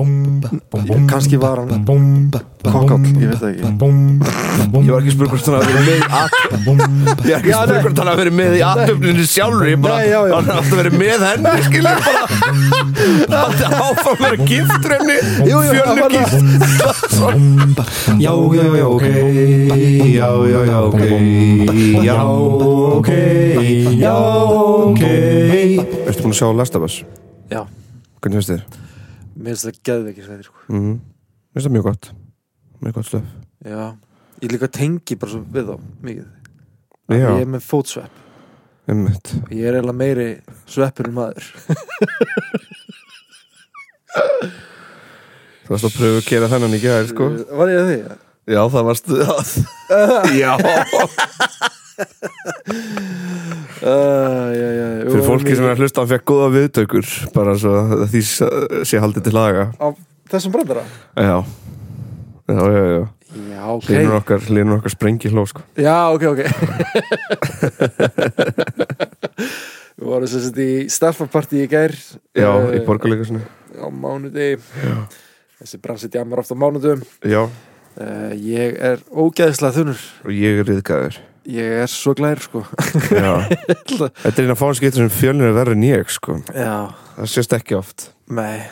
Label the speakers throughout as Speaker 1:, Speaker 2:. Speaker 1: Kannski var hann kokkáll, ég veit það ekki
Speaker 2: Ég var ekki spurgur hvort hann hafi verið með í athöfn Ég var ekki spurgur hvort hann hafi verið með í athöfninu sjálfur Ég bara,
Speaker 1: Nei, já, já.
Speaker 2: hann hafi alltaf verið með henni Skilur bara Alltaf áfram verið giftur henni Fjölnir gift
Speaker 3: Já, já, já, ok Já, já, já, ok Já, ok Já, ok
Speaker 1: Ertu búin að sjá Last of Us?
Speaker 4: Já,
Speaker 1: Hvernig finnst þér?
Speaker 4: mér finnst það geðveikir sæti sko.
Speaker 1: Mm. Finnst það mjög gott Mjög gott stöf
Speaker 4: Já, ég líka tengi bara svo við þá mikið
Speaker 1: Já,
Speaker 4: Ég er með fótsvepp
Speaker 1: einmitt
Speaker 4: Ég er eiginlega meiri sveppur en maður
Speaker 1: Þú varst að pröfu að gera þennan í gær, sko
Speaker 4: Var ég að því?
Speaker 2: Já, það var stuð Já,
Speaker 4: Uh, já, já, já,
Speaker 1: Fyrir fólki sem er að hlusta, hann fekk góða viðtökur Bara svo að því s- sé haldið til laga
Speaker 4: Á þessum brandara?
Speaker 1: Já Já, já, já
Speaker 4: Já, ok
Speaker 1: Linur okkar, linur okkar sprengi hló, sko
Speaker 4: Já, ok, ok Við vorum sem sagt í staffarparti í gær
Speaker 1: Já,
Speaker 4: eh,
Speaker 1: í borgarleikarsinu
Speaker 4: Á mánudegi Þessi bransi djamar oft á mánudum
Speaker 1: Já,
Speaker 4: uh, Ég er ógæðislega þunur
Speaker 1: og ég er yðgæður
Speaker 4: Ég er svo glær, sko
Speaker 1: Já Þetta er einn að fá hans getur sem fjölnir er verri en ég, sko
Speaker 4: Já,
Speaker 1: Það sést ekki oft
Speaker 4: nei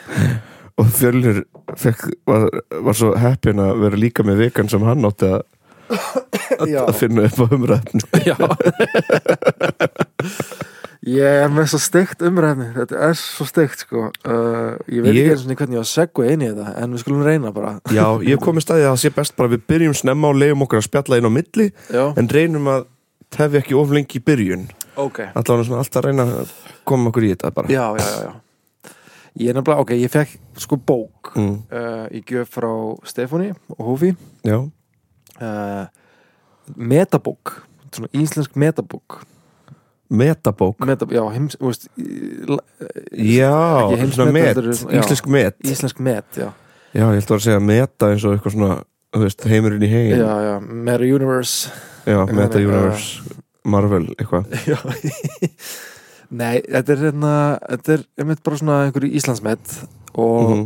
Speaker 1: og Fjölnir fekk, var, var svo heppin að vera líka með vikan sem hann átti að, að,
Speaker 4: Já.
Speaker 1: að finna upp á umræðin
Speaker 4: Já Ég er með svo steikt umræðni Þetta er svo steikt, sko uh, Ég veit
Speaker 1: Ég-
Speaker 4: ekki eins og hvernig ég á að segja inn í þetta En við skulum reyna bara
Speaker 1: Já, ég kom í staði að það sé best bara að við byrjum snemma og leiðum okkur að spjalla inn á milli
Speaker 4: Já,
Speaker 1: en reynum að tefja ekki of lengi í byrjun
Speaker 4: ok
Speaker 1: allan svona alltaf að reyna að koma okkur í þetta bara
Speaker 4: já, já, já, já. Ég er nefnilega, ok, ég fekk sko bók
Speaker 1: mm,
Speaker 4: uh, í gjöf frá Stefáni og Hófi
Speaker 1: já.
Speaker 4: uh, metabók svona íslensk metabók
Speaker 1: metabók
Speaker 4: Metab, já, heims, þú veist, í- la-
Speaker 1: Já,
Speaker 4: Ekki heimsmet,
Speaker 1: svona met,
Speaker 4: heldur- já.
Speaker 1: íslensk met
Speaker 4: íslensk met já,
Speaker 1: Já, ég held að vera að segja meta eins og eitthvað svona þú veist, heimurinn í hegin
Speaker 4: já, já, Meta Universe
Speaker 1: Já,
Speaker 4: En
Speaker 1: meta
Speaker 4: þannig,
Speaker 1: universe, Marvel eitthvað
Speaker 4: já. nei, þetta er hérna þetta er einmitt bara svona einhverju íslensmet og
Speaker 1: Mhm.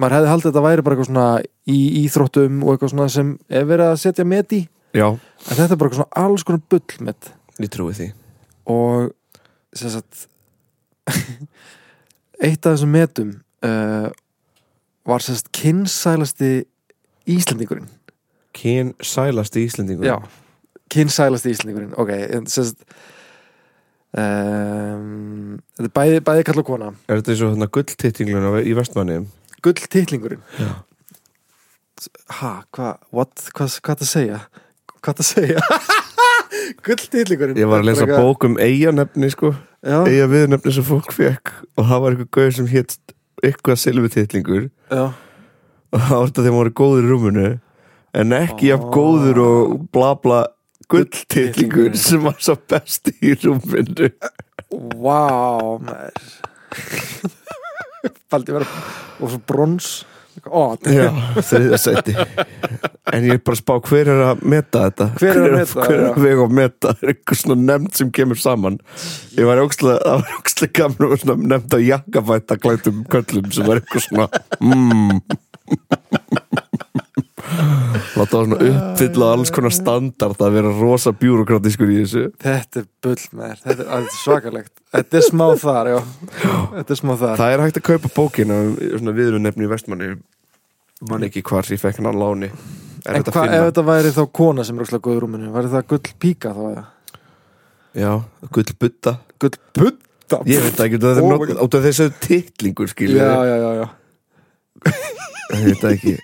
Speaker 4: maður hefði haldið að þetta væri bara eitthvað svona í íþróttum og eitthvað svona sem er verið að setja met í
Speaker 1: Já,
Speaker 4: en þetta er bara eitthvað svona alls konar bull met
Speaker 1: ég trúi því
Speaker 4: og sem sagt eitt af þessum metum uh, var sem sagt kynnsælasti Íslendingurinn
Speaker 1: Kyn sælasti Íslendingur
Speaker 4: já, kynnsælasti Íslendingurinn ok, en sem sagt um, þetta er bæði, bæði kalla kona
Speaker 1: Er þetta eins og þarna gulltittingluna í vestmanni
Speaker 4: gull titlingurinn
Speaker 1: Já.
Speaker 4: ha, hvað what, hvað, hvað það segja hvað það segja gull titlingurinn
Speaker 1: Ég var að lesa bók um eiganefni sko
Speaker 4: já,
Speaker 1: Eiga viðnefni sem fólk fekk Og það var eitthvað gauð sem hétt Eitthvað silfutitlingur
Speaker 4: já,
Speaker 1: Og það var þetta þegar maður góður í rúminu En ekki jafn góður og bla bla Gulltitlingur
Speaker 4: Gulltitlingur.
Speaker 1: sem var svo besti í rúminu
Speaker 4: Vá, maður Faldi vera Og svo brons Ó,
Speaker 1: Já, þriðja sæti En ég er bara að spá hver er að meta þetta
Speaker 4: Hver er að meta,
Speaker 1: Hver er
Speaker 4: já.
Speaker 1: að vega að meta Það er eitthvað svona nefnd sem kemur saman Ég var ókslega, það var ókslega gaman og svona nefnd að jakkafæta klættum köllum sem var eitthvað svona mm. Láta það svona uppfylla alls konar standard að vera rosa bjúrokratískur í þessu
Speaker 4: þetta er bull maður Þetta er, þetta er svakalegt Þetta er smá þar, já Þetta er smá þar
Speaker 1: Það er hægt að kaupa bókina um svona viðurinn nefni í vestmanni Man ekki hvar ég fekk hann á láni Er
Speaker 4: En
Speaker 1: þetta að
Speaker 4: hvað ef
Speaker 1: finna?
Speaker 4: þetta væri þá kona sem er rúkslega góð í rúminu Væri það gull píka þá eða?
Speaker 1: Já, gullbutta
Speaker 4: Gull putta
Speaker 1: Ég veit það ekki, það er
Speaker 4: Oh my
Speaker 1: not, út af þessu titlingur skilur
Speaker 4: Já, já, já, já
Speaker 1: Ég veit það ekki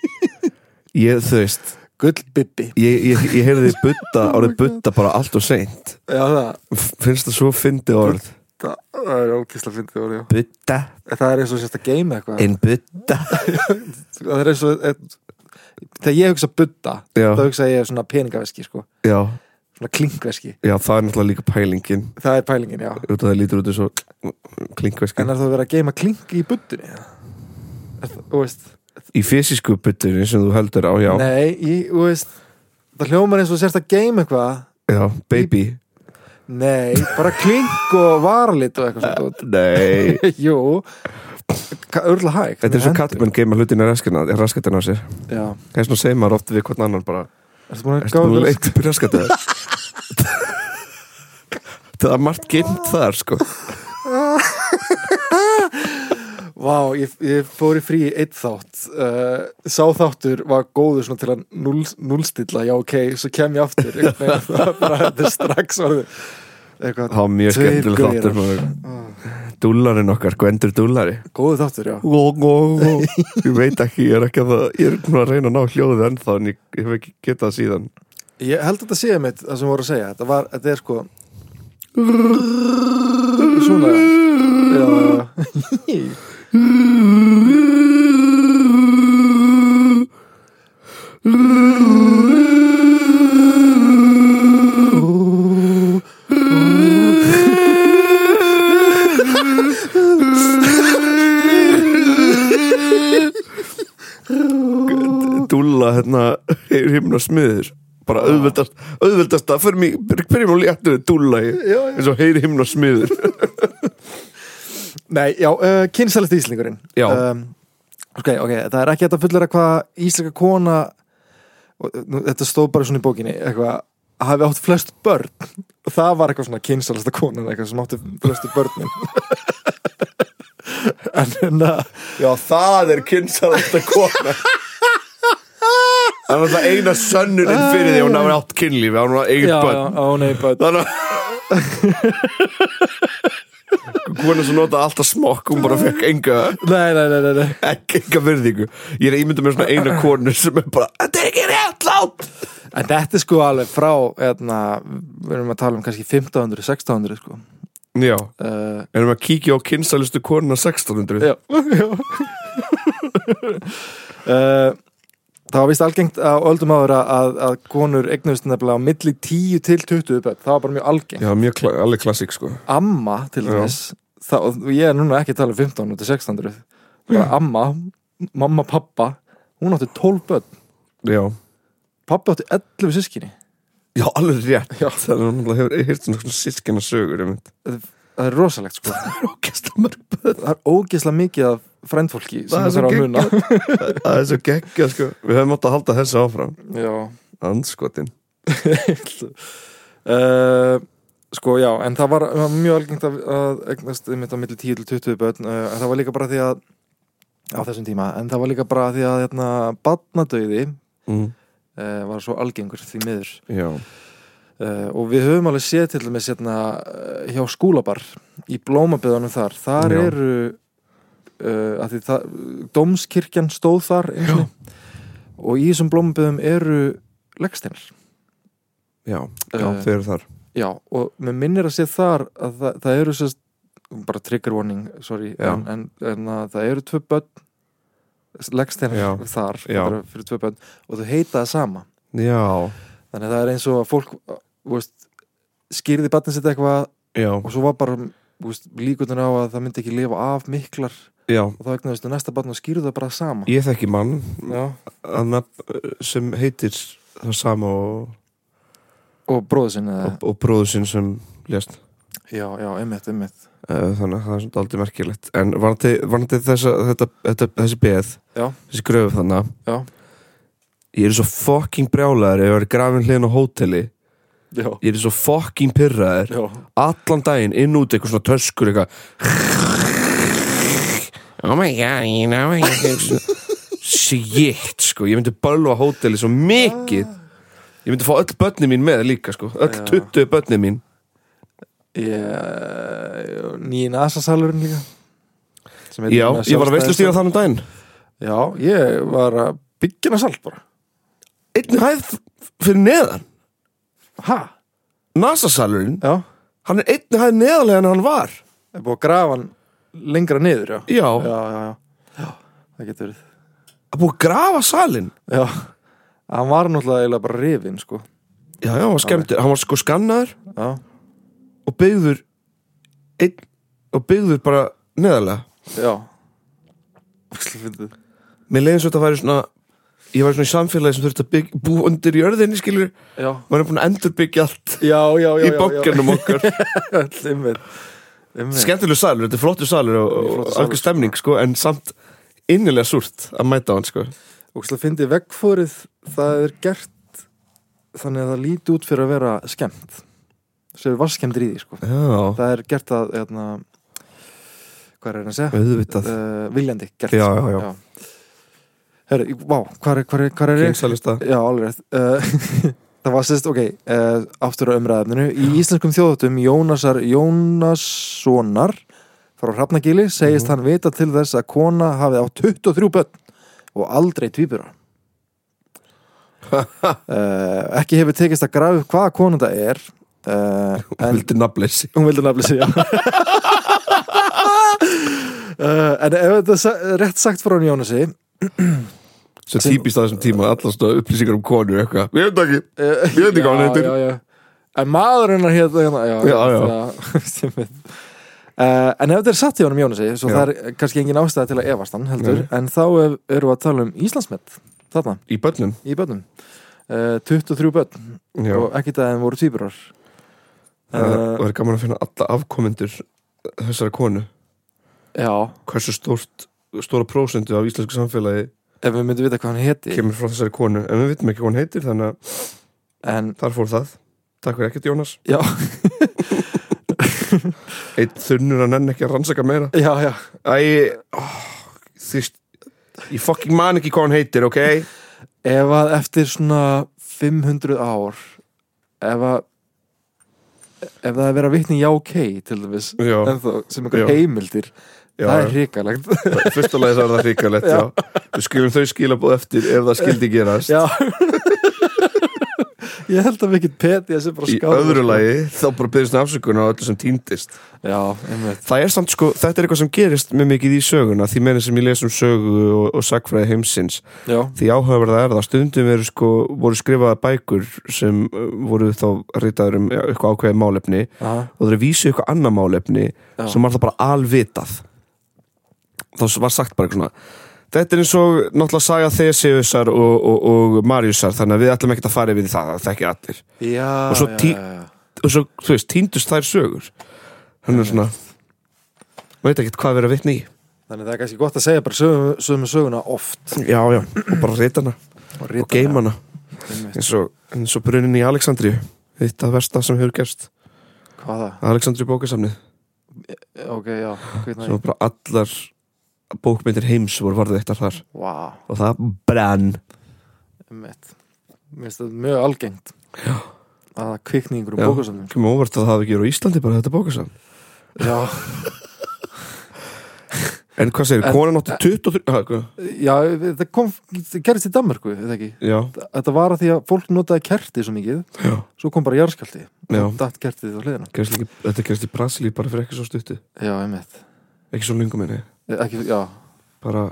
Speaker 1: Ég, þú veist,
Speaker 4: Gull bibbi
Speaker 1: ég, ég, ég heyrði butta,
Speaker 4: Oh
Speaker 1: árið butta bara allt og seint
Speaker 4: Já, það
Speaker 1: F- Finnst það svo fyndi orð
Speaker 4: Það það er ókislega fyndið orðið, já.
Speaker 1: Butta,
Speaker 4: Það er eins og sérst að geima eitthvað
Speaker 1: en butta
Speaker 4: Það er eins og eh, Þegar ég hugsa budda
Speaker 1: Já.
Speaker 4: þá hugsa ég svona peningaveski sko.
Speaker 1: já,
Speaker 4: Svona klinkveski
Speaker 1: já, það er náttúrulega líka pælingin
Speaker 4: Það er pælingin, já
Speaker 1: Út af það lítur út eins og klinkveski
Speaker 4: En er það að vera að geima klink í buddunni? Er það- Þú veist
Speaker 1: Í fysisku buttunni sem þú heldur á, já,
Speaker 4: Nei, í- þú veist Það hljómar eins og sérst að geima eitthvað
Speaker 1: já, baby
Speaker 4: Nei, bara klink og varalit og eitthvað svona dót.
Speaker 1: Nei,
Speaker 4: Jú, örla hæg
Speaker 1: Þetta er svo kattmenn geima hlutin í raskatinn á- raskatinn á sér
Speaker 4: Já,
Speaker 1: Það er svona segir maður oft við hvern annan bara
Speaker 4: ertu búin að
Speaker 1: Erstu
Speaker 4: gáða
Speaker 1: nú leitt upp í raskatinn Það er margt geimt þar sko
Speaker 4: Vá, ég, ég fór í frí í eitt þátt uh, Sá þáttur var góður svona til að núl, núlstilla Já, ok, svo kem ég aftur Einhvern veginn, Það var bara þetta er strax orðið Eitthvað,
Speaker 1: Það var mjög
Speaker 4: Tveir
Speaker 1: skemmtileg
Speaker 4: gaurar. Ah.
Speaker 1: þáttur maður. Dúllarinn okkar, Gwendur Dúllari
Speaker 4: góður þáttur, já
Speaker 1: Gó, gó, gó. Ég veit ekki, ég er ekki að það Ég er nú að reyna að ná hljóðið ennþá En ég, ég hef ekki getað það síðan
Speaker 4: Ég held að þetta séu mitt það sem voru að segja Þetta, var, þetta er sko Svona já, já, já.
Speaker 1: Dúlla hérna er himna smiður
Speaker 4: Ah.
Speaker 1: Bara auðveldast, auðveldast að fyrir mig Byrjum að léttu við Dúlla í-
Speaker 4: Já, já.
Speaker 1: eins og heyri himna smiður
Speaker 4: Nei, já, uh, kynsælist Íslingurinn
Speaker 1: Já.
Speaker 4: um, Ok, ok, það er ekki hægt að fullera hvað Íslinga kona og, uh, nú, Þetta stóð bara svona í bókinni eitthvað, hafi átt flest börn og það var eitthvað svona kynsælista konan eitthvað sem átti flestu börnin En hérna
Speaker 1: Já, það er kynsalasta kona Það er alltaf eina sönnurinn fyrir því að Hún hafa átt kynlífi, hún hafa eigin bönn
Speaker 4: á nei, börn
Speaker 1: Þannig að Kona sem nota alltaf smokk Hún bara fekk enga
Speaker 4: Nei, nei, nei, nei, nei.
Speaker 1: ekki enga virðingu ég er að ímynda mér svona eina konu sem er bara þetta er ekki rétt lát
Speaker 4: En þetta er sko alveg frá eðna, við erum að tala um kannski 1500, 1600 sko.
Speaker 1: já,
Speaker 4: uh,
Speaker 1: erum að kíkja á kynsalustu konuna 1600
Speaker 4: Já, já. uh, Það var vist algengt á öldum áður að, að, að konur eignuðust nefnilega á milli 10 til 20 börn, það var bara mjög algengt
Speaker 1: já mjög kla alveg klassik sko
Speaker 4: Amma til
Speaker 1: Já.
Speaker 4: þess þá, og ég er núna ekki að tala um 15 til 1600 bara
Speaker 1: Mm.
Speaker 4: amma, mamma, pappa hún átti 12 börn
Speaker 1: já,
Speaker 4: pappa átti 11 sískinni
Speaker 1: já alveg rétt
Speaker 4: Já.
Speaker 1: það er náttúrulega hefur heyrt svona, svona sískina sögur
Speaker 4: það er rosalegt sko
Speaker 1: það
Speaker 4: það er ógeðslega mikið af frændfólki sem
Speaker 1: Það er
Speaker 4: það
Speaker 1: svo
Speaker 4: þarf að muna
Speaker 1: er svo geggja sko við höfum átt að halda þessu áfram
Speaker 4: Já
Speaker 1: anskotin
Speaker 4: uh, Sko já, en það var, var mjög algengt að, að eignast mitt á milli 10 til 20 börn uh, en það var líka bara því að á þessum tíma, en það var líka bara því að hérna, badnadauði
Speaker 1: mm.
Speaker 4: uh, var svo algengur því miður
Speaker 1: já,
Speaker 4: uh, og við höfum alveg séð til dæmis hérna, uh, hjá skúlabar í blómabyðanum þar, þar
Speaker 1: Já.
Speaker 4: eru uh, að því það dómskirkjan stóð þar einu sinni. og í þessum blómabyðum eru leggsteinar
Speaker 1: já, já
Speaker 4: Eh.
Speaker 1: þau eru þar
Speaker 4: Já, og mér minnir að sé þar að það, það eru sérst, bara trigger warning, sorry
Speaker 1: Já.
Speaker 4: en, en, en að það eru tvö börn
Speaker 1: Já.
Speaker 4: leggsteinar þar
Speaker 1: Já.
Speaker 4: bara fyrir tvö börn og þau heita það sama
Speaker 1: já,
Speaker 4: þannig að það er eins og að fólk þú veist, skýrði barnið sitt eitthvað
Speaker 1: já,
Speaker 4: og svo var bara þú veist, líkundin á að það myndi ekki lifa af miklar
Speaker 1: já
Speaker 4: og þá egnaðist þau næsta barn og skýrðu það bara sama
Speaker 1: ég þekki mann
Speaker 4: Já.
Speaker 1: að nafn, eh, sem heitir það sama og,
Speaker 4: og bróðu sinni eða-
Speaker 1: og, og bróður sinn sem lést
Speaker 4: já, já, einmitt, einmitt
Speaker 1: Eh, þannig að það er svona aldrei merkilegt en varandi, varandi þessa, þetta, þetta, þessi beð
Speaker 4: Já.
Speaker 1: þessi gröf þannig
Speaker 4: Já.
Speaker 1: ég er svo fucking brjálæður ef ég var grafin hliðin á hóteli
Speaker 4: já,
Speaker 1: ég er svo fucking pyrraður
Speaker 4: já,
Speaker 1: allan daginn inn út eitthvað svona töskur eitthvað oh my god you know I can- shit sko ég myndi bölva hóteli svo mikið ég myndi fá öll börnin mín með líka sko öll
Speaker 4: Já.
Speaker 1: 20 börnin mín
Speaker 4: ég, nýjina asasalurinn líka Sem heitir
Speaker 1: já
Speaker 4: hérna
Speaker 1: ég var að
Speaker 4: sjálfstæðis-
Speaker 1: veistlustýra þannig daginn
Speaker 4: Já, ég var að byggja hana salt bara
Speaker 1: einni hæð fyrir neðan
Speaker 4: Hæ?
Speaker 1: NASA-salurinn,
Speaker 4: Já,
Speaker 1: hann er einni hæð neðarlega en hann var
Speaker 4: er búið að grafa hann lengra niður, já Já,
Speaker 1: Já,
Speaker 4: já, já, það getur verið
Speaker 1: að búið að grafa salin
Speaker 4: Já, hann var náttúrulega eiginlega bara rifin, sko
Speaker 1: Já, já, hann var skemmtur, hann var sko skannaður
Speaker 4: Já,
Speaker 1: og byggður einn, og byggður bara neðarlega
Speaker 4: já Ókslega fyndið.
Speaker 1: Mér leiðin svo þetta væri svona ég væri svona í samfélagi sem þurfti að bygg, búa undir jörðinni skilur,
Speaker 4: Já,
Speaker 1: maður er búin að endurbyggja allt
Speaker 4: já, já, já
Speaker 1: í bókjunum okkar
Speaker 4: Allir með Einmitt.
Speaker 1: skemmtileg salur, þetta er flottur salur og,
Speaker 4: Þetta er flottur
Speaker 1: og
Speaker 4: salur,
Speaker 1: algjör stemning sko, en samt innilega súrt að mæta á hann sko.
Speaker 4: og slá fyndi vegfórið það er gert þannig að það líti út fyrir að vera skemmt sem var skemmtir í því sko.
Speaker 1: Já,
Speaker 4: það er gert að hérna, hvað er hann að segja
Speaker 3: auðvitað
Speaker 4: uh, viljandi gert
Speaker 3: Já,
Speaker 4: sko.
Speaker 3: já, já.
Speaker 4: Herru, vá, hvað er, hvað er, hvað er
Speaker 1: kynsalista
Speaker 4: Já, alveg rétt uh, Það var sérst, ok, uh, aftur á umræðefninu Í íslenskum þjóðutum Jónasar Jónassonar frá Hrafnagili segist hann vita til þess að kona hafi á 23 börn og aldrei tvíbura uh, Ekki hefur tekist að grafa upp hvaða kona það er uh, en
Speaker 3: Vildi nafnleysi
Speaker 4: Hún vildi nafnlega segja uh, En ef þetta er sa- rétt sagt frá hann Jónasi
Speaker 1: Svo típist á þessum tíma, allast upplýsingar um konur eitthvað, ég veit ekki Ég veit ekki hvað hann
Speaker 4: Já,
Speaker 1: heitir.
Speaker 4: já, já. En maðurinn er hérna hérna, Já,
Speaker 1: Já, já.
Speaker 4: já. Uh, En ef þetta er satt í honum Jónasi Svo það er kannski engin ástæða til að efast hann heldur En þá er, erum við að tala um Íslandsmet Þarna,
Speaker 1: í börnum
Speaker 4: í börnum uh, 23 börn
Speaker 1: Já, Eh,
Speaker 4: Og ekkit að þeim voru týpurar
Speaker 1: það
Speaker 4: uh,
Speaker 1: var gaman að finna alla afkomendur þessara konu,
Speaker 4: Já,
Speaker 1: hversu stórt stóra prósentu af íslensku samfélagi
Speaker 4: ef við myndum vita hvað hann heti
Speaker 1: kemur frá þessari konu, en við vitum ekki hvað hann heitir þannig að
Speaker 4: En,
Speaker 1: þar fór það Takk fyrir ekkert Jónas
Speaker 4: já,
Speaker 1: Eitt þunnur að nenn ekki að rannsaka meira
Speaker 4: já, já
Speaker 1: Æ, oh, þvist, ég fucking man ekki hvað hann heitir, ok?
Speaker 4: Ef að eftir svona 500 ár Ef að Ef það er verið að vitni í já ok til dæmis
Speaker 1: Já,
Speaker 4: ennþá, sem einhver
Speaker 1: Já.
Speaker 4: heimildir
Speaker 1: já,
Speaker 4: það er hrikalegt
Speaker 1: fyrst og lagi það er það hrikalegt, já. Við skilum þau skilabóð eftir ef það skildi gerast.
Speaker 4: já ég held að við getum peti þessi bara
Speaker 1: Í
Speaker 4: skáðum
Speaker 1: öðru lagi, þá bara byrðist afsökunar á öllu sem týndist.
Speaker 4: já, einmitt
Speaker 1: Það er samt, sko, þetta er eitthvað sem gerist mjög mikið í söguna, því meðan sem ég les um sögu og, og sagfræði heimsins.
Speaker 4: já,
Speaker 1: Því áhugaverða er það, stundum eru, sko, voru skrifaða bækur sem uh, voru þá ritaður um ja, eitthvað ákveðið málefni
Speaker 4: aha,
Speaker 1: og þeir vísu í eitthvað annað málefni
Speaker 4: Já.
Speaker 1: sem var það bara alvitað þá var sagt bara eitthvað svona þetta er eins og náttúrulega saga Theseusar og, og, og Mariusar þannig að við ætlum ekkert að fara yfir það, það þekki allir
Speaker 4: já
Speaker 1: Og svo
Speaker 4: já,
Speaker 1: tí-
Speaker 4: já, já.
Speaker 1: og svo, þú veist, týndust þær sögur þannig að svona maður veit ekkert hvað við erum að vitna í
Speaker 4: þannig það er kannski gott að segja bara sömu, sömu söguna oft
Speaker 1: já, já, og bara reytana
Speaker 4: og,
Speaker 1: og geimana
Speaker 4: einmitt.
Speaker 1: eins og, eins og brunin í Aleksandri þetta versta sem hefur gerst
Speaker 4: hvaða,
Speaker 1: Aleksandri bókasamnið,
Speaker 4: ok, já
Speaker 1: sem
Speaker 4: hvernig,
Speaker 1: var bara allar bókmyndir heims voru varðið eittar þar
Speaker 4: wow,
Speaker 1: og það brann
Speaker 4: einmitt mér finnst þetta mjög algengt já að það kvikni í einhverjum
Speaker 1: Já.
Speaker 4: bókasamnum
Speaker 1: kemur óvart að það hafi ekki verið á Íslandi bara þetta bókasam
Speaker 4: já,
Speaker 1: en hvað segir,
Speaker 4: En-
Speaker 1: konan átti 23 ha, hvað?
Speaker 4: já, þetta kom þetta gerðist í Danmarku, þetta ekki
Speaker 1: já,
Speaker 4: þetta var að því að fólk notaði kerti svo mikið
Speaker 1: já,
Speaker 4: svo kom bara jarðskjaldi
Speaker 1: já
Speaker 4: datt kertið á hliðina
Speaker 1: gerist líka, þetta gerist í Brasilíu bara fyrir ekki svo stuttu
Speaker 4: já, einmitt
Speaker 1: ekki svo lungum minni
Speaker 4: Eh, ekki, já.
Speaker 1: bara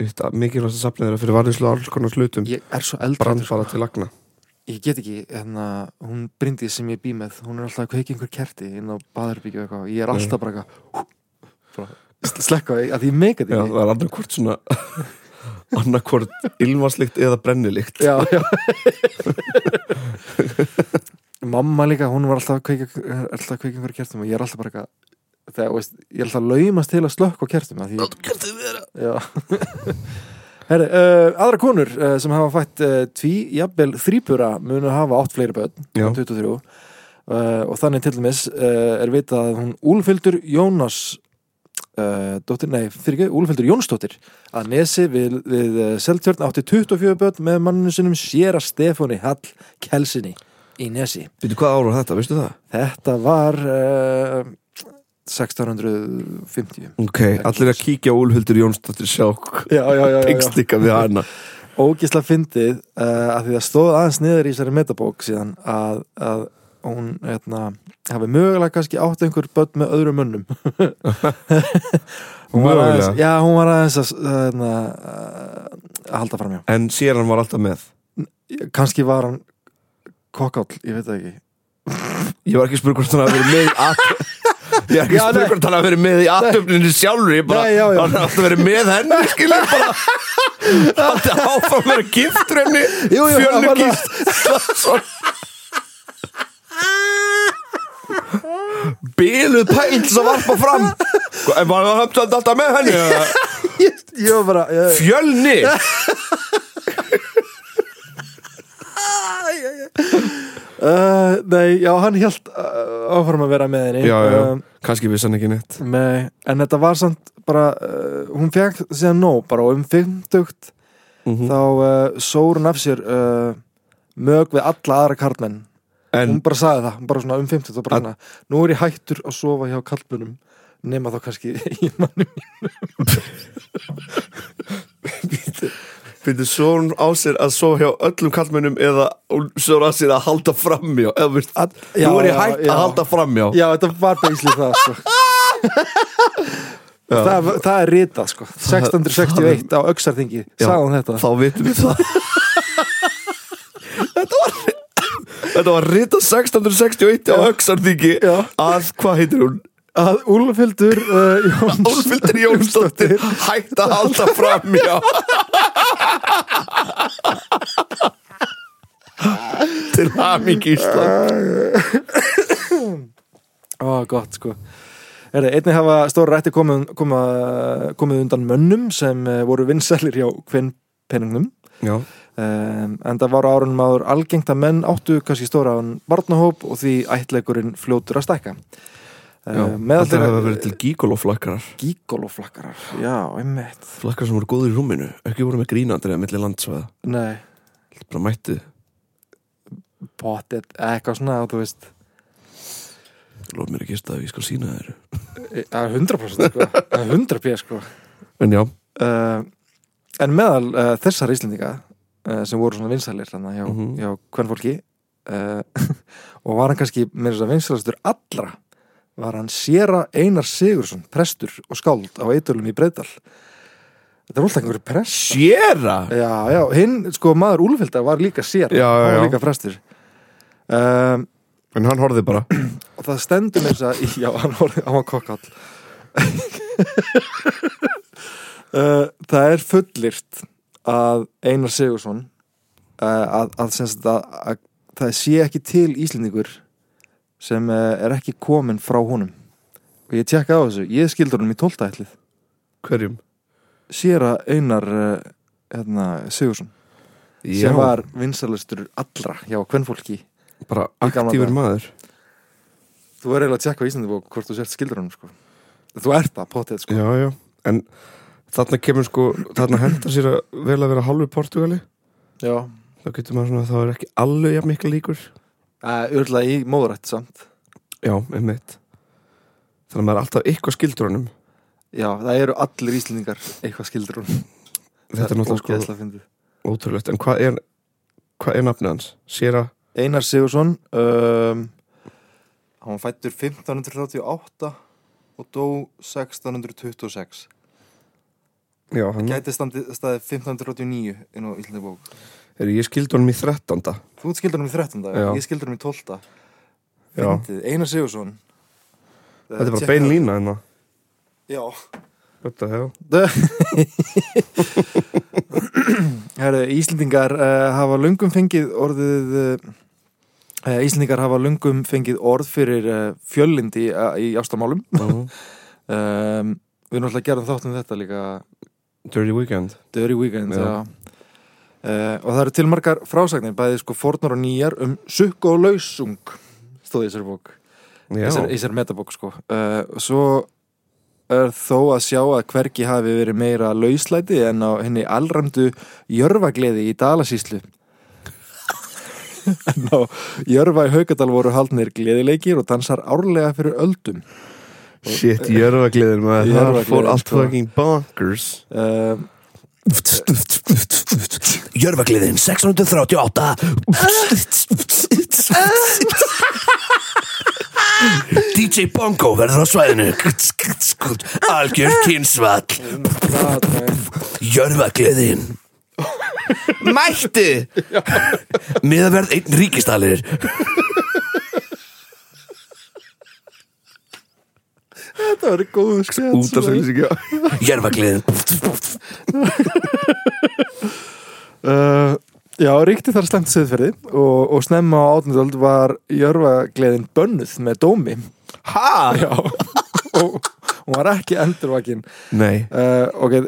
Speaker 1: eitt að- mikilvægasta safnið þeirra fyrir varðislu alls konar hlutum
Speaker 4: ég er svo
Speaker 1: brann
Speaker 4: eldrættur
Speaker 1: bara til lagna
Speaker 4: ég get ekki, hérna, hún brindi sem ég bý með hún er alltaf að kveiki einhver kerti inn á baðherbyggju og eitthvað, ég er alltaf bara eitthvað bara sl- slekka, á því, að ég meika því
Speaker 1: já, það er annarkvort svona annarkvort ilmarslikt eða brennilikt
Speaker 4: já, já. mamma líka, hún var alltaf að kveika alltaf að kveika einhver kertum og ég er alltaf bara eitthvað þegar, þú veist, ég er alltaf að laumast til að slökka á kertum að því
Speaker 1: Láttu kertið vera.
Speaker 4: Já Herri, uh, aðra konur uh, sem hafa fætt uh, tví, jafnvel þrýpura munu hafa átt fleiri börn
Speaker 1: Já.
Speaker 4: 23 uh, og þannig til dæmis uh, er vitað að hún Úlfildur Jónas uh, dóttir, nei, fyrir ekki, Úlfildur Jónsdóttir að Nesi við, við uh, Seltjörn átti 24 börn með manninu sinum Sjera Stefáni Hall Kelsinni í Nesi
Speaker 1: Býtu hvað ára þetta, veistu það?
Speaker 4: Þetta var uh, 1650
Speaker 1: Ok, allir að kíkja á Úlhuldur Jónsdóttir sjá
Speaker 4: Já, já, já,
Speaker 1: tengstika við hana
Speaker 4: ógisla fyndið uh, að því það stóð aðeins niður í þessari metabók síðan að, að hún hérna, hafi mögulega kannski átt einhver börn með öðrum munnum hún var aðeins,
Speaker 1: Mögulega.
Speaker 4: já, hún var aðeins að, hérna, eh, að halda fram hjá
Speaker 1: en séran var alltaf með
Speaker 4: kannski var hann kokkáll, ég veit það ekki
Speaker 1: Ég var ekki spurð hvort hann hafi verið með í aðtöfn Ég var ekki
Speaker 4: Já, nei.
Speaker 1: spurð hvort hann hafi verið með í aðtöfninu sjálfur Ég bara,
Speaker 4: Nei, já, já.
Speaker 1: hann hafi alltaf verið með henni Skilur bara Haldi áfram að vera giftur henni
Speaker 4: Jú, jú, hann
Speaker 1: Fjölnir
Speaker 4: var það.
Speaker 1: gíft Slagsson bíluð pæl sem varpa fram en var það höfnandi alltaf með henni eða?
Speaker 4: Ég var bara ég,
Speaker 1: fjölni
Speaker 4: uh, Nei, já, hann held uh, áfram að vera með henni
Speaker 1: já, já,
Speaker 4: Um,
Speaker 1: kannski vissi hann ekki neitt
Speaker 4: Nei, en þetta var samt bara, uh, hún fekk síðan nóg bara og um fimmtugt
Speaker 1: Mm.
Speaker 4: þá uh, sór hún af sér uh, mög við alla aðra karlmenn
Speaker 1: en,
Speaker 4: hún bara sagði það, hún bara svona um fimmtugt og bara
Speaker 1: Að-
Speaker 4: svona, nú er ég hættur að sofa hjá karlmennum nema þá kannski í mannum
Speaker 3: Fyrir svo hún á sér að sofa hjá öllum kallmennum eða hún svo hún á sér að halda framjá eða veist, að,
Speaker 4: já,
Speaker 3: nú er
Speaker 4: já,
Speaker 3: ég hægt
Speaker 4: já.
Speaker 3: að halda framjá
Speaker 4: Já, þetta var beislið það sko. það, það er ritað sko. 1661 á Öxarþingi sagði hún þetta
Speaker 3: þá vitum við það Þetta var Þetta var rita 1661 á Öxarþingi að hvað heitir hún?
Speaker 4: að Úlfildur uh, Jóns
Speaker 3: Úlfildur Jónsdóttir hægt að halda framjá Til hamingi Ísland
Speaker 4: Ó, gott sko Herri, einnig hafa stóra rætti komið, koma, komið undan mönnum sem uh, voru vinsælir hjá kvinnpenningnum
Speaker 1: já,
Speaker 4: um, en það var árunum áður algengt að menn áttu kannski stóra án barnahóp og því ættleikurinn fljótur að stækka
Speaker 1: já.
Speaker 4: uh, meðal
Speaker 1: þetta hefur
Speaker 4: þeirra
Speaker 1: verið til gíkoloflakkarar
Speaker 4: gíkoloflakkarar já, einmitt
Speaker 1: flakkar sem voru góður í rúminu ekki voru með grínandri eða milli landsvæða
Speaker 4: nei,
Speaker 1: bara mættu
Speaker 4: potið, eitthvað svona þú veist,
Speaker 1: lof mér að gista að ég skal sína þér
Speaker 4: það er 100% sko. það er 100% sko
Speaker 1: en já,
Speaker 4: uh, en meðal uh, þessar Íslendinga uh, sem voru svona vinsælir þannig hjá,
Speaker 1: Mhm.
Speaker 4: hjá hvern fólki uh, og var hann kannski með þess að vinsælastur allra var hann Sera Einar Sigursson prestur og skáld á eitölum í Breiðdal þetta er alltaf einhverju prest
Speaker 1: sjera
Speaker 4: já, já, hinn sko maður Úlfildar var líka Sera
Speaker 1: Já, já,
Speaker 4: hann var
Speaker 1: já.
Speaker 4: líka prestur um,
Speaker 1: en hann horfði bara
Speaker 4: og það stendur með þess að í- já, hann var, hann var kokkall uh, það er fullirt að Einar Sigursson uh, að, að, sem sagt að, að það sé ekki til Íslendingur sem uh, er ekki komin frá honum og ég tjekkaði á þessu, ég skildur honum í tóltaætlið
Speaker 1: hverjum?
Speaker 4: sér að Einar uh, hérna, Sigursson sem var vinsalistur allra hjá kvennfólki
Speaker 1: bara
Speaker 4: Í gamla
Speaker 1: aktífur
Speaker 4: daga.
Speaker 1: maður
Speaker 4: þú er eiginlega að tjekka á Íslandibók hvort þú sért skildur honum sko. þú ert það, potið sko.
Speaker 1: já, já, en þarna kemur sko þarna hendar sér að vel að vera hálfur Portugali
Speaker 4: Já,
Speaker 1: þá getur maður svona að það er ekki alveg jafn mikla líkur
Speaker 4: örgulega í móðrætt samt
Speaker 1: já, einmitt þannig að maður er alltaf eitthvað skildur honum
Speaker 4: Já, það eru allir íslendingar eitthvað skildur hún
Speaker 1: þetta er náttúrulega sko ótrúlegt en hvað er, hvað er nafnið hans? Sera,
Speaker 4: Einar Sigursson um, Hann var fættur 1538 og dó 1626
Speaker 1: já, hann
Speaker 4: Gæti standi, staði 1589 inn á Íslandibók
Speaker 1: er ég skildur honum í 13.
Speaker 4: Þú ert skildur hún í 13.
Speaker 1: Já.
Speaker 4: Ég skildur hún í 12.
Speaker 1: Já,
Speaker 4: Fyndið, Einar Sigursson
Speaker 1: þetta er bara
Speaker 4: Tjekka-
Speaker 1: bein lína hérna
Speaker 4: Já
Speaker 1: Þetta hefur
Speaker 4: Herru, Íslendingar uh, hafa lungum fengið orðið uh, Íslendingar hafa lungum fengið orð fyrir uh, fjöllindi uh, í ástamálum
Speaker 1: Mhm.
Speaker 4: um, Við náttúrulega gerðum þátt um þetta líka
Speaker 1: Dirty Weekend
Speaker 4: Dirty Weekend
Speaker 1: Já.
Speaker 4: já. Uh, og það eru til margar frásagnir bæði sko fornar og nýjar um sukk og lausung stóði í þessari bók í
Speaker 1: Já,
Speaker 4: þessari- í þessari metabók sko uh, og svo er þó að sjá að hvergi hafi verið meira lauslæti en á henni allræmdu jörfagleði í Dalasíslu en á jörfa í Haukadal voru haldnir gleðileikir og dansar árlega fyrir öldum
Speaker 1: shit, jörfagliðin maður Það
Speaker 4: Jörfagliðin,
Speaker 1: fór allt
Speaker 4: sko.
Speaker 1: fucking bonkers
Speaker 4: uh,
Speaker 5: Jörfagliðin 638 DJ Bongo verður á svæðinu Algjör kynsvall
Speaker 4: um
Speaker 5: Jörfagliðin Mættu Miðaverð einn ríkistalir
Speaker 4: það verið góð skets
Speaker 1: Útarsælýsing, já
Speaker 5: Jörfagliðin
Speaker 4: Uh, já, ríkti þar slemt siðferði og, og snemma á átnudöld var jörfagleðin bönnuð með dómi
Speaker 1: Hæ?
Speaker 4: Já, og hún var ekki endurvakin
Speaker 1: Nei
Speaker 4: uh, ok,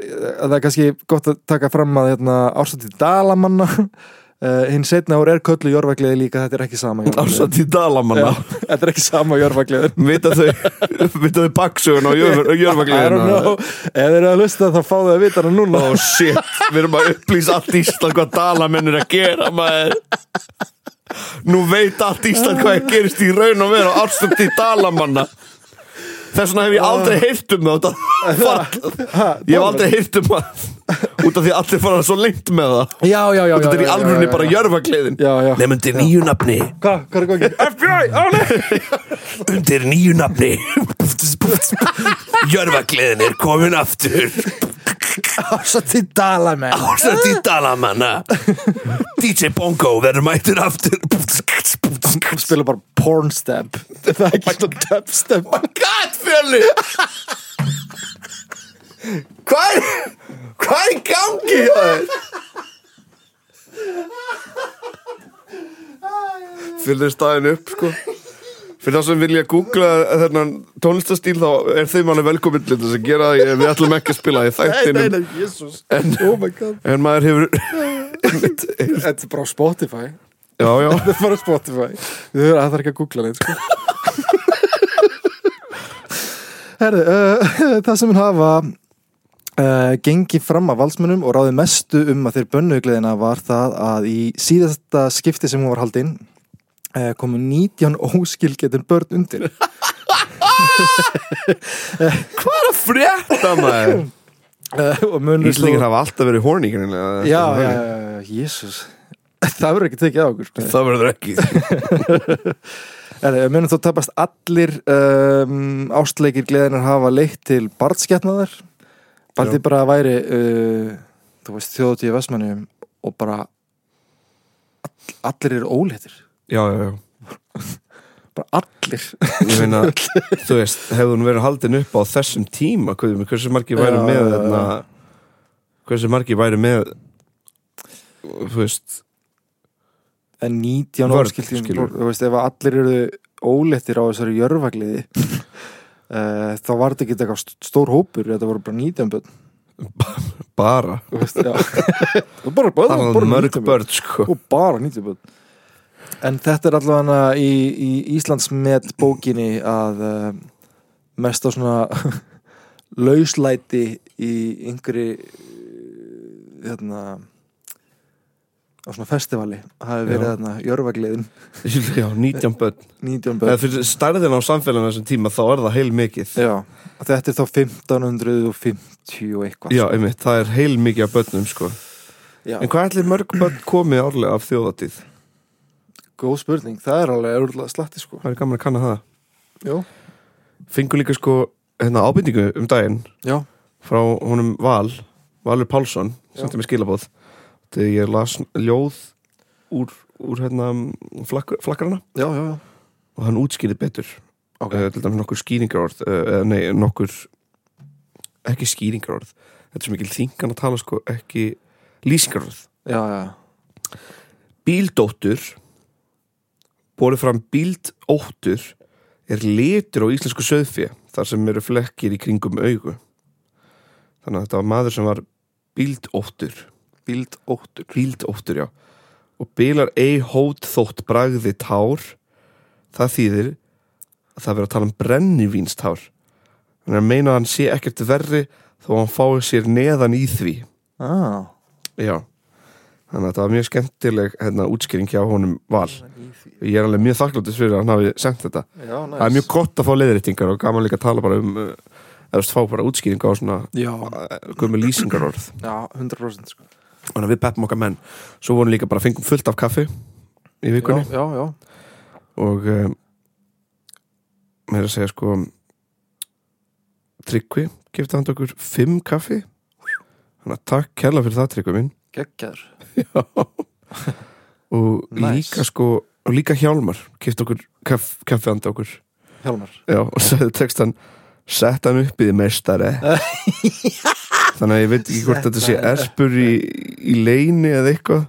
Speaker 4: það er kannski gott að taka fram að hérna, ársatið Dalamanna uh, hinn setna úr er köllu jórvagliði líka, þetta er ekki sama jórvagliði
Speaker 1: Ársat í Dalamanna
Speaker 4: þetta er ekki sama jórvagliði
Speaker 1: Vita þau Vita þau baksögun á
Speaker 4: I don't
Speaker 1: jörfagliðina
Speaker 4: know, ef þeir eru að hlusta þá fáðu þau að vita það núna
Speaker 1: Oh shit, við erum að upplýsa allt Ísland hvað dalamenn er að gera maður Nú veit allt Ísland hvað er gerist í raun og vera árstöndi dalamanna Þess vegna hef ég aldrei heyrt um það
Speaker 4: Ha,
Speaker 1: Ég hef aldrei heyrt um það Út af því að allir fara svo lengt með það
Speaker 4: já, já, já, já,
Speaker 1: Þetta er í
Speaker 4: já, já, já,
Speaker 1: alvörunni
Speaker 4: já.
Speaker 1: bara jörfakleiðin
Speaker 4: já, já,
Speaker 5: Nefn undir nýju nafni
Speaker 4: hvað, hvað er góðin? FBI, á nei
Speaker 5: Undir nýju nafni Jörfagleðin er komin aftur
Speaker 4: ársatið Dalamenn
Speaker 5: Ársætt í Dalamanna DJ Bongo verður mættur aftur
Speaker 4: spila bara pornstep það er ekki svona dubstep
Speaker 1: God, Fjölni Hvað er Hvað er í gangi hjá þér? Fjölni er staðin upp sko Fyrir það sem vilja googla þennan tónlistastíl þá er þeim alveg velkominn til þess að gera það Ég- við ætlum ekki að spila það í þættinum
Speaker 4: jésús
Speaker 1: En-
Speaker 4: oh my god
Speaker 1: en maður hefur
Speaker 4: Þetta er bara á Spotify
Speaker 1: já já
Speaker 4: Þetta er bara á Spotify Þau eru að það er ekki að googla neitt sko. Herri, uh, það sem mun hafa uh, gengið fram að valsmönnum og ráðið mestu um að þeir bönnugliðina var það að í síðasta skipti sem hún var haldin uh, komu 19 óskilgetin börn undir
Speaker 1: frétta maður
Speaker 4: uh, og munur
Speaker 1: Íslingar hafa alltaf verið horny greinilega.
Speaker 4: Já, já, já, já, jésús Það verður ekki tekið á okkur sko.
Speaker 1: það verður ekki
Speaker 4: Er, eh, munum þó tapast allir um, ástleikir gleðinar hafa leitt til barnskettnaðar bara því bara væri uh, þú veist þjóðutíð vestmannum og bara all, allir eru óleittir
Speaker 1: já já já
Speaker 4: bara allir
Speaker 1: ég meina, þú veist, hefur hún verið haldin upp á þessum tíma, hvernig, hversu margir væri
Speaker 4: Já,
Speaker 1: með
Speaker 4: já, já.
Speaker 1: þarna, hversu margir væri með þú veist,
Speaker 4: en 19
Speaker 1: Vörn,
Speaker 4: áskiltíðum
Speaker 1: skilur.
Speaker 4: þú veist ef að allir eru óleittir á þessari jörfagliði uh, þá var þetta ekki eitthvað st- stór hópur þetta voru bara 19 börn
Speaker 1: bara
Speaker 4: þú veist, já. bara, bara, bara,
Speaker 1: bara
Speaker 4: bara
Speaker 1: mörg
Speaker 4: 19
Speaker 1: börn, sko
Speaker 4: og bara 90 börn en þetta er allavega í, í Íslands með bókinni að uh, mest á svona lauslæti í yngri eh, hérna á svona festivali hafi verið
Speaker 1: Já.
Speaker 4: þarna jörfagliðin
Speaker 1: já, 19 börn
Speaker 4: 19
Speaker 1: eða
Speaker 4: börn
Speaker 1: fyrir stærðin á samfélaginu á þessum tíma þá er það heil mikið
Speaker 4: Já, og þetta er þá 1550 og eitthvað
Speaker 1: já, einmitt, það er heil mikið af börnum, sko
Speaker 4: Já,
Speaker 1: en hvað ætlir mörg börn komið árlega af þjóðatíð?
Speaker 4: góð spurning, það er alveg örgulega slatti sko
Speaker 1: það er gaman að kanna það
Speaker 4: Já,
Speaker 1: fengur líka, sko, hérna ábyrningu um daginn
Speaker 4: já,
Speaker 1: frá honum Val Valur Pálsson, sendi mér skilabóð þegar ég las ljóð úr, úr hérna flak, flakkarana
Speaker 4: já, já, já.
Speaker 1: og hann útskýrði betur
Speaker 4: Ok.
Speaker 1: okay. til dæmis nokkur skýringarorð eh, eða nei, nokkur ekki skýringarorð þetta er svo mikil þingan að tala sko ekki lýsingarorð
Speaker 4: já, já.
Speaker 1: Bíldóttur borið fram bíldóttur er litur á íslensku söðfjö þar sem eru flekkir í kringum augu þannig að þetta var maður sem var bíldóttur
Speaker 4: Bíldóttur
Speaker 1: bíldóttur, já og bílar ei hót þótt bragði tár það þýðir að það verið að tala um brennivínstár þannig að meina að hann sé ekkert verri þó að hann fái sér neðan í því
Speaker 4: ah.
Speaker 1: Já Þannig að þetta var mjög skemmtileg hérna, útskýring hjá honum val Ég er alveg mjög þakkláttis fyrir að hann hafi sendt þetta
Speaker 4: Já, næs
Speaker 1: Það er mjög gott að fá leiðréttingar og gaman líka að tala bara um eh, eða þú veist, fá bara útskýringa á svona
Speaker 4: Já,
Speaker 1: gömur lýsingarorð
Speaker 4: já 100% sko.
Speaker 1: Þannig að við peppum okkar menn Svo vorum líka bara fengum fullt af kaffi í
Speaker 4: já,
Speaker 1: vikunni
Speaker 4: já, já,
Speaker 1: og um, meira að segja sko Tryggvi gefti hann okkur fimm kaffi Þannig að takk kærlega fyrir það Tryggvi minn
Speaker 4: geggjar
Speaker 1: og
Speaker 4: Nice.
Speaker 1: líka sko og líka Hjálmar kifti okkur kaff, kaffi handa okkur
Speaker 4: Hjálmar
Speaker 1: já, og sagði textan sett hann upp í því meistari þannig að ég veit ekki hvort þetta sé
Speaker 4: Sett hann
Speaker 1: erpur í, í leini eða eitthvað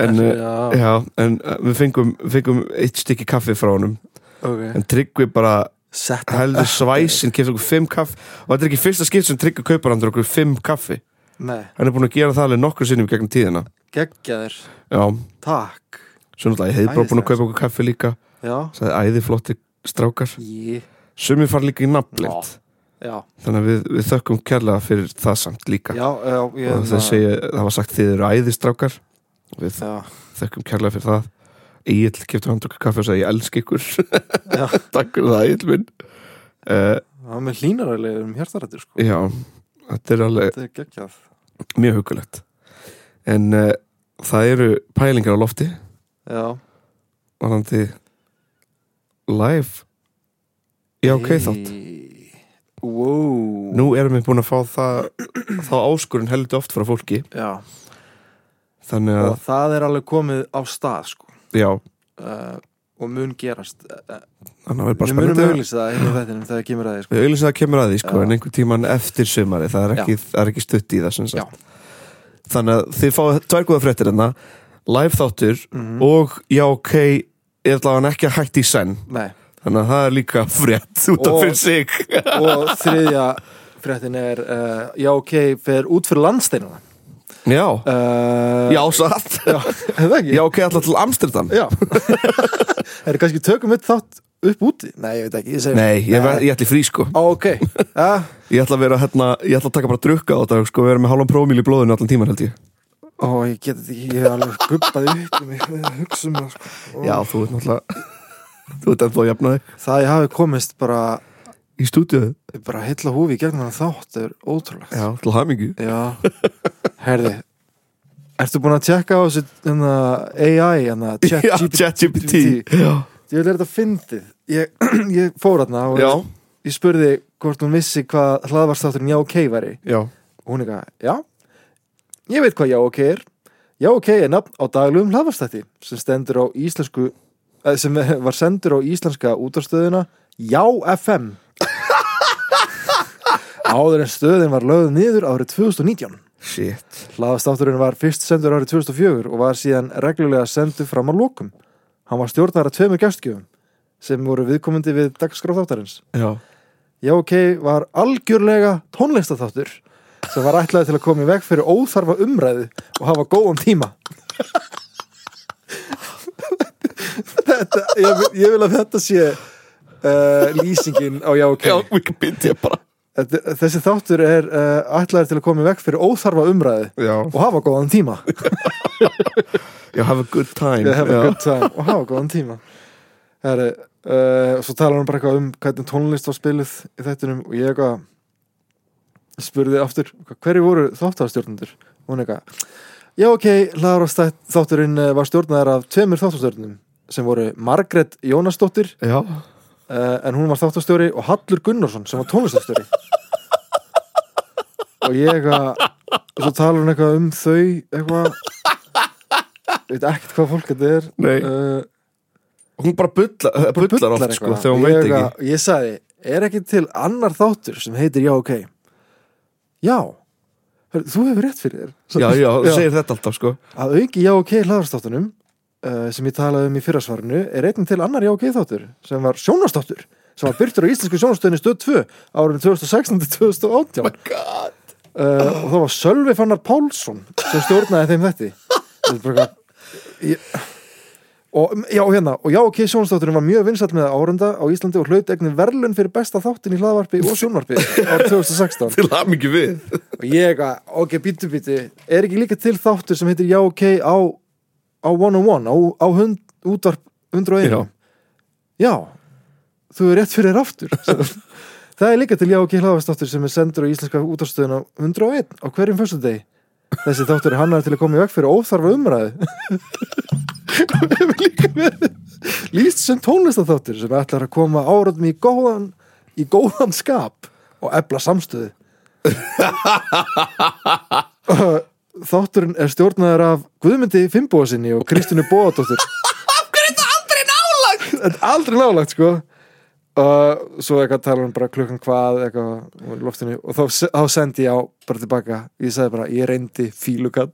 Speaker 1: en, eh,
Speaker 4: Já,
Speaker 1: já, en eh, við fengum, fengum eitt stykki kaffi frá honum
Speaker 4: ok
Speaker 1: en Tryggvi bara
Speaker 4: Sett
Speaker 1: heldur svæsin, kemst okkur fimm kaffi og þetta er ekki fyrsta skipt sem Tryggvi kaupar hann okkur fimm kaffi,
Speaker 4: Nei,
Speaker 1: hann er búin að gera það alveg nokkur sinnum í gegnum tíðina
Speaker 4: geggjaður
Speaker 1: já,
Speaker 4: Takk
Speaker 1: svo náttúrulega ég hefði bara búin að
Speaker 4: Æðislegt.
Speaker 1: kaupa okkur kaffi líka
Speaker 4: Já
Speaker 1: sagði æði flotti strákar
Speaker 4: Jí
Speaker 1: sumir fara líka í nafnlind
Speaker 4: Já,
Speaker 1: þannig að við, við þökkum kærlega fyrir það samt líka
Speaker 4: já, já ég, hérna-
Speaker 1: og það segja, það var sagt þið eru æði strákar við
Speaker 4: Já,
Speaker 1: þökkum kærlega fyrir það Egil kefti hann okkur kaffi og sagði ég elsk ykkur
Speaker 4: já
Speaker 1: takk fyrir það Egil minn uh,
Speaker 4: Það er með hlínaræðilega um hjartarættur sko
Speaker 1: já, þetta er alveg
Speaker 4: Þetta er geggjað
Speaker 1: mjög hugulegt en uh, það eru pælingar á lofti
Speaker 4: Já
Speaker 1: varandi live já ok þátt
Speaker 4: Hey. Wow
Speaker 1: nú erum við búin að fá það þá áskurinn heldur oft frá fólki
Speaker 4: Já
Speaker 1: þannig að
Speaker 4: Og það er alveg komið á stað sko
Speaker 1: já,
Speaker 4: uh, Og mun gerast uh,
Speaker 1: þannig að það er bara
Speaker 4: Við munum
Speaker 1: spennandi
Speaker 4: auðlýsa það hérna í þættinum þegar kemur að því sko
Speaker 1: við auðvitað það kemur að því sko
Speaker 4: Já.
Speaker 1: en einhvern tíman eftir sumari það er ekki, það er ekki stutt í það sem sagt þannig að þið fáið tvær góða fréttir enna live þáttur
Speaker 4: Mhm.
Speaker 1: og já ok ég ætla að hann ekki að hætti í senn
Speaker 4: Nei
Speaker 1: þannig að það er líka frétt út af
Speaker 4: Og-
Speaker 1: fyrir sig
Speaker 4: Og þriðja fréttin er uh, Já, ok, fer út fyrir landsteinuna
Speaker 1: já
Speaker 4: uh,
Speaker 1: Já, satt
Speaker 4: Já, er það ekki?
Speaker 1: Já, ok, alltaf til Amsterdam
Speaker 4: Já. Er það kannski tökum við þátt upp úti? Nei, ég veit ekki, ég segi
Speaker 1: Nei, ég, ver, ég ætla í frí sko
Speaker 4: Á, ok ja,
Speaker 1: Ég ætla að vera hérna, ég ætla að taka bara drukka á þetta sko, vera með hálfum prómíl í blóðinu allan tíman held ég
Speaker 4: Ó, ég get þetta ekki, ég er alveg gubbað upp um mig við að hugsa um það sko. Ó,
Speaker 1: Já, þú ert náttúrulega Þú ert ennþá að jafna þig
Speaker 4: Það ég hafi komist bara,
Speaker 1: Í stúdíu
Speaker 4: bara heilla húfi í gegnum hann þátt er ótrúlegt
Speaker 1: Já, til hamingju
Speaker 4: Já. Herði Ertu búin að tjekka á þessu hérna, AI, hérna,
Speaker 1: Já,
Speaker 4: ChatGPT
Speaker 1: ChatGPT Já,
Speaker 4: Ég vil er þetta fyndið Ég, ég fór hérna og
Speaker 1: já,
Speaker 4: ég spurði hvort hún vissi hvað hlaðvarstátturinn Já OK væri
Speaker 1: já
Speaker 4: og hún eitthvað, já ég veit hvað já ok er já ok er nafn á daglegum hlaðvarstætti sem stendur á íslensku eh, sem var sendur á íslenska útastöðuna Já FM áður en stöðin var lögð niður árið 2019
Speaker 1: Shit
Speaker 4: hlaðvarstátturinn var fyrst sendur árið 2004 og var síðan reglulega sendur fram á lokum hann var stjórnar að tveimur gæstgjöfum sem voru viðkomandi við dagskráþáttarins
Speaker 1: Já,
Speaker 4: Já, ok, var algjörlega tónlistaþáttur sem var ætlaði til að koma í veg fyrir óþarfa umræðu og hafa góðan tíma. þetta, ég, vil- ég vil að þetta sé uh, lýsingin á já, ok.
Speaker 1: já, Wikipedia bara
Speaker 4: Þetta, þessi þáttur er uh, ætlaði til að koma í veg fyrir óþarfa umræðu
Speaker 1: Já,
Speaker 4: og hafa góðan tíma.
Speaker 1: já, have a good time
Speaker 4: Ég hef
Speaker 1: já.
Speaker 4: að good time og hafa góðan tíma. Það er, uh, svo talar hann bara eitthvað um hvernig tónlist var spiluð í þættunum og ég eitthvað spurði aftur, hverju voru þáttarstjórnendur? Og hún eitthvað, já ok, Lára þátturinn eh, var stjórnaðar af tveimur þáttarstjórnum sem voru Margrét Jónasdóttir
Speaker 1: Já,
Speaker 4: uh, en hún var þáttarstjóri og Hallur Gunnarsson sem var tónlistarstjóri og ég eitthvað og svo talar hún eitthvað um þau eitthvað ég veit ekkert hvað fólk þetta er
Speaker 1: Nei.
Speaker 4: Eh,
Speaker 1: hún bara bulla, bullar oft sko þegar hún veit
Speaker 4: ég,
Speaker 1: ekki
Speaker 4: eitthvað- ég sagði, er ekki til annar þáttur sem heitir já ok já Hörðu, þú hefur rétt fyrir þér
Speaker 1: Já, já,
Speaker 4: Já.
Speaker 1: þú segir þetta alltaf sko
Speaker 4: að auki já ok hlaðarstáttunum uh, sem ég talaði um í fyrrasvarinu er einn til annar já ok þáttur sem var sjónastáttur sem var byrtur á íslensku sjónastöðinu stöð 2 árið 2016-2018 uh, Eh, og það var Sölvi Fannar Pálsson sem stjórnaði þeim þetta Þetta er bara eitthvað- ég... og um, já hérna og já ok sjónastátturinn var mjög vinsall með árenda á Íslandi og hlaut egnin verðlun fyrir besta þáttin í hlaðvarpi og sjónvarpi árið 2016
Speaker 1: Til hamingi við
Speaker 4: og ég eitthvað, ok, býtu býtu er ekki líka til þáttur sem heitir já ok á, á 101 á, á hund, útvarp 101
Speaker 1: Já.
Speaker 4: já þú er rétt fyrir þér aftur það er líka til já ok hlaðastáttur sem er sendur á íslenska útvarpstöðuna 101 á hverjum fyrstu deg þessi þáttur er hannar til að koma í veg fyrir óþarfa umræðu og hefur líka verið líst sem tónlistaþáttur sem ætlar að koma áratum í góðan í góðan skap og ebla samstöðu þátturinn er stjórnaður af Guðmundi Fimboðasinni og Kristínu Bóðardóttur Af hverju er þetta aldrei nálagt? Þetta er aldrei nálagt sko uh, Svo eitthvað talar hún bara klukkan hvað eitthvað og loftinu og þá, se- þá sendi ég á bara tilbaka ég sagði bara ég reyndi fílukall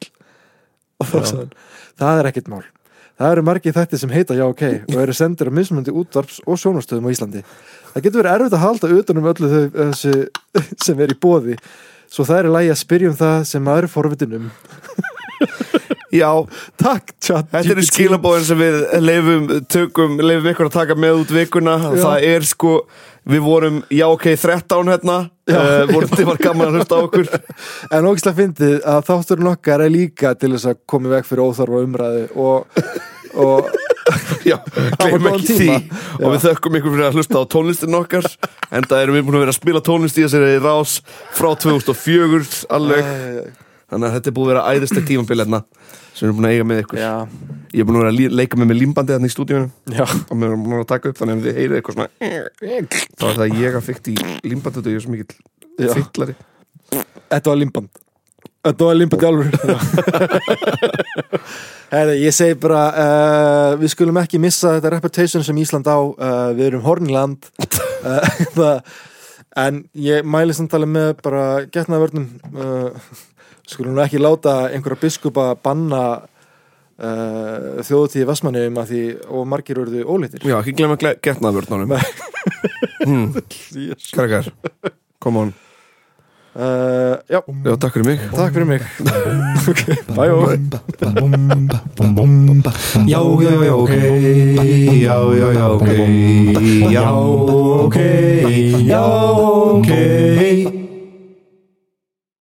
Speaker 4: og þá sagði hann það er ekkert mál Það eru margir þætti sem heita Já ok og eru sendir á mismunandi útvarps og sjónastöðum á Íslandi. Það getur verið erfitt að halda utanum öllu þau þessu sem er í bóði svo það er í lagi að spyrja um það sem maður er forvitinum.
Speaker 1: Já,
Speaker 4: Takk tjátt.
Speaker 1: þetta eru skilabóðin sem við leifum, tökum, leifum ykkur að taka með út vikuna
Speaker 4: Já.
Speaker 1: Það er sko, við vorum, já ok, 13 hérna uh, vorum þið var gaman að hlusta á okkur
Speaker 4: En ógislega fyndið að þátturinn okkar er líka til þess að koma í veg fyrir óþarfa umræðu og, og
Speaker 1: Já, gleymum
Speaker 4: góðan
Speaker 1: ekki því
Speaker 4: tíma.
Speaker 1: og við þökkum ykkur fyrir að hlusta á tónlistin okkar en það erum við búin að vera að spila tónlist í þessari rás frá 2004 alveg, þannig að þetta er búið að vera æðislega tímabil hérna sem við erum búin að eiga með ykkur
Speaker 4: já,
Speaker 1: Ég er búin að vera að lí- leika með með límbandi þarna í stúdíunum
Speaker 4: já,
Speaker 1: og mér er búin að taka upp þannig að ef þið heyrið eitthvað svona þá er það ég að fykta í límbandi og ég er svo
Speaker 4: Já.
Speaker 1: mikill fyllari
Speaker 4: Þetta var limband Þetta var limband í alveg Herri, ég segi bara uh, Við skulum ekki missa þetta reputation sem Ísland á uh, Við erum horniland uh, það, En ég mæli samtalið með bara getnaðvörnum uh, Skulum nú ekki láta einhverja biskupa banna uh, þjóðutíði Vestmanniðum að því og margir urðu óleitir
Speaker 1: Já, ekki glemma að getna það vörnunum Hmm. Krakkar, come on
Speaker 4: uh, Já,
Speaker 1: Já, takk fyrir mig
Speaker 4: takk fyrir mig Bæ og
Speaker 5: Já, já, já, ok Já, já, já, ok Já, ok Já, ok